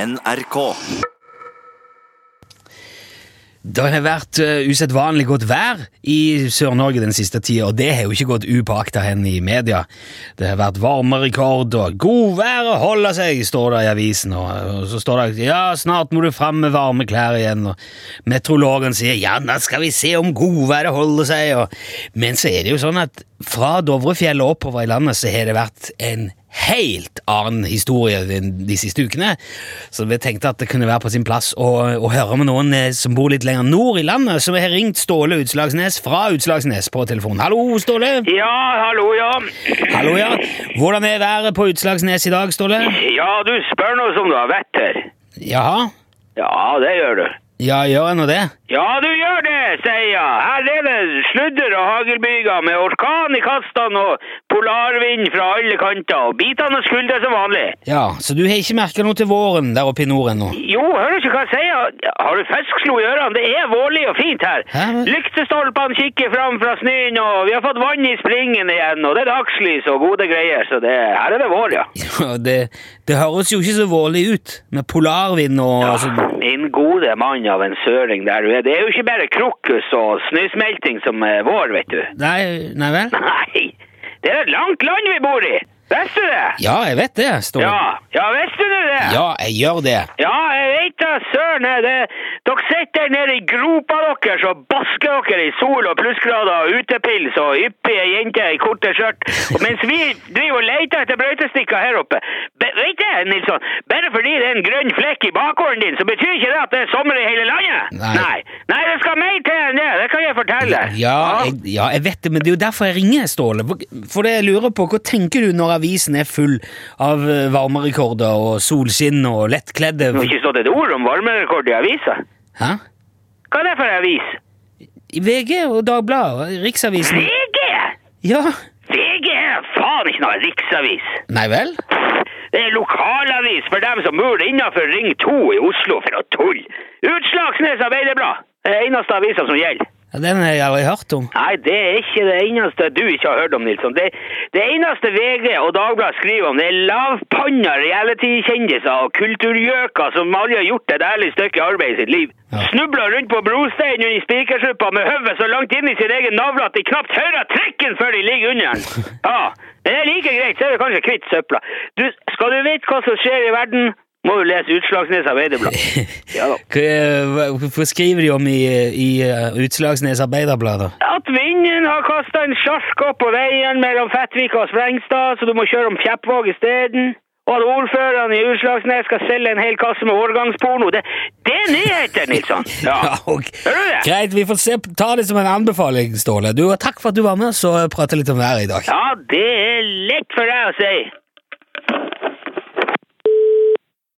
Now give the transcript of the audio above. NRK. Det har vært eh, usedvanlig godt vær i Sør-Norge den siste tida, og det har jo ikke gått upåakta hen i media. Det har vært varmerekord og 'godværet holder seg', står det i avisen, og, og så står det 'ja, snart må du fram med varme klær igjen', og meteorologen sier 'ja, nå skal vi se om godværet holder seg', og Men så er det jo sånn at fra Dovrefjellet og oppover i landet så har det vært en helt annen historie de, de siste ukene. Så vi tenkte at det kunne være på sin plass å, å høre med noen eh, som bor litt lenger nord i landet, som har ringt Ståle Utslagsnes fra Utslagsnes på telefon. Hallo, Ståle! Ja, hallo, ja. Hallo, ja. Hvordan er været på Utslagsnes i dag, Ståle? Ja, du spør noe som du har vett til. Jaha? Ja, det gjør du. Ja, gjør jeg nå det? Ja, du gjør det, sier jeg. Her er det sludder og haglbyger med orkan i kastene og polarvind fra alle kanter og bitende skulder som vanlig. Ja, så du har ikke merka noe til våren der oppe i nord ennå? Jo, hører du ikke hva jeg sier? Har du feskslo i ørene? Det er vårlig og fint her. Hæ? Lyktestolpene kikker fram fra snøen, og vi har fått vann i springen igjen, og det er dagslys og gode greier, så det, her er det vår, ja. Ja, det, det høres jo ikke så vårlig ut, med polarvind og altså, Min gode mann av en søring der du er. Det er jo ikke bare krokus og snøsmelting som er vår, vet du. Nei, nei vel? Nei, det er et langt land vi bor i. Visste du det? Ja, jeg vet det, Ståle. Ja, ja visste du det? Ja, jeg gjør det. Ja, jeg vet da, søren. jeg, Det, dere sitter nede i gropa deres og basker dere i sol og plussgrader og utepils og yppige jenter i korte skjørt. Og mens vi driver og leter etter brøytestikker her oppe be, Vet du, Nilsson, bare fordi det er en grønn flekk i bakgården din, så betyr ikke det at det er sommer i hele landet. Nei. Nei, Nei, det skal mer til enn det. Det kan jeg fortelle. Ja jeg, ja, jeg vet det, men det er jo derfor jeg ringer, Ståle. Hvor- For det jeg lurer på, hva tenker du når avisen er full av eh, varmerekorder og solskinn og lettkledde Det har ikke stått et ord om varmerekord i avisa. Hæ? Hva er det for avis? I VG og Dagbladet og Riksavisen. VG! Ja. VG er faen ikke noe riksavis. Nei vel? Det er lokalavis for dem som bor innenfor Ring 2 i Oslo for å tulle. Utslagsnes Arbeiderblad. Det er eneste avisa som gjelder. Ja, den har jeg aldri hørt om. Nei, det er ikke det eneste du ikke har hørt om, Nilsson. Det, det eneste VG og Dagbladet skriver om, det er lavpanna reality-kjendiser og kulturgjøker som aldri har gjort et ærlig stykke arbeid i sitt liv. Ja. Snubler rundt på brosteinen under spikersuppa med høvet så langt inn i sin egen navle at de knapt hører trekken før de ligger under den. Ja, men det er like greit, så er du kanskje kvitt søpla. Du, skal du vite hva som skjer i verden, må du lese Utslagsnes Arbeiderblad. Ja da. Hva hva- hva skriver de om i, i eh, Utslagsnes Arbeiderblad, da? At vinden har kasta en sjark opp på veien mellom Fettvika og Sprengstad, så du må kjøre om Kjeppvåg isteden. Og at ordføreren i Utslagsnes skal selge en hel kasse med årgangsporno. Det, det er nyheter, Nilsson! Ja. ok. Hører du det? Greit, vi får se, ta det som en anbefaling, Ståle. Du, og takk for at du var med oss og prata litt om været i dag. ja, det er lett for deg å si.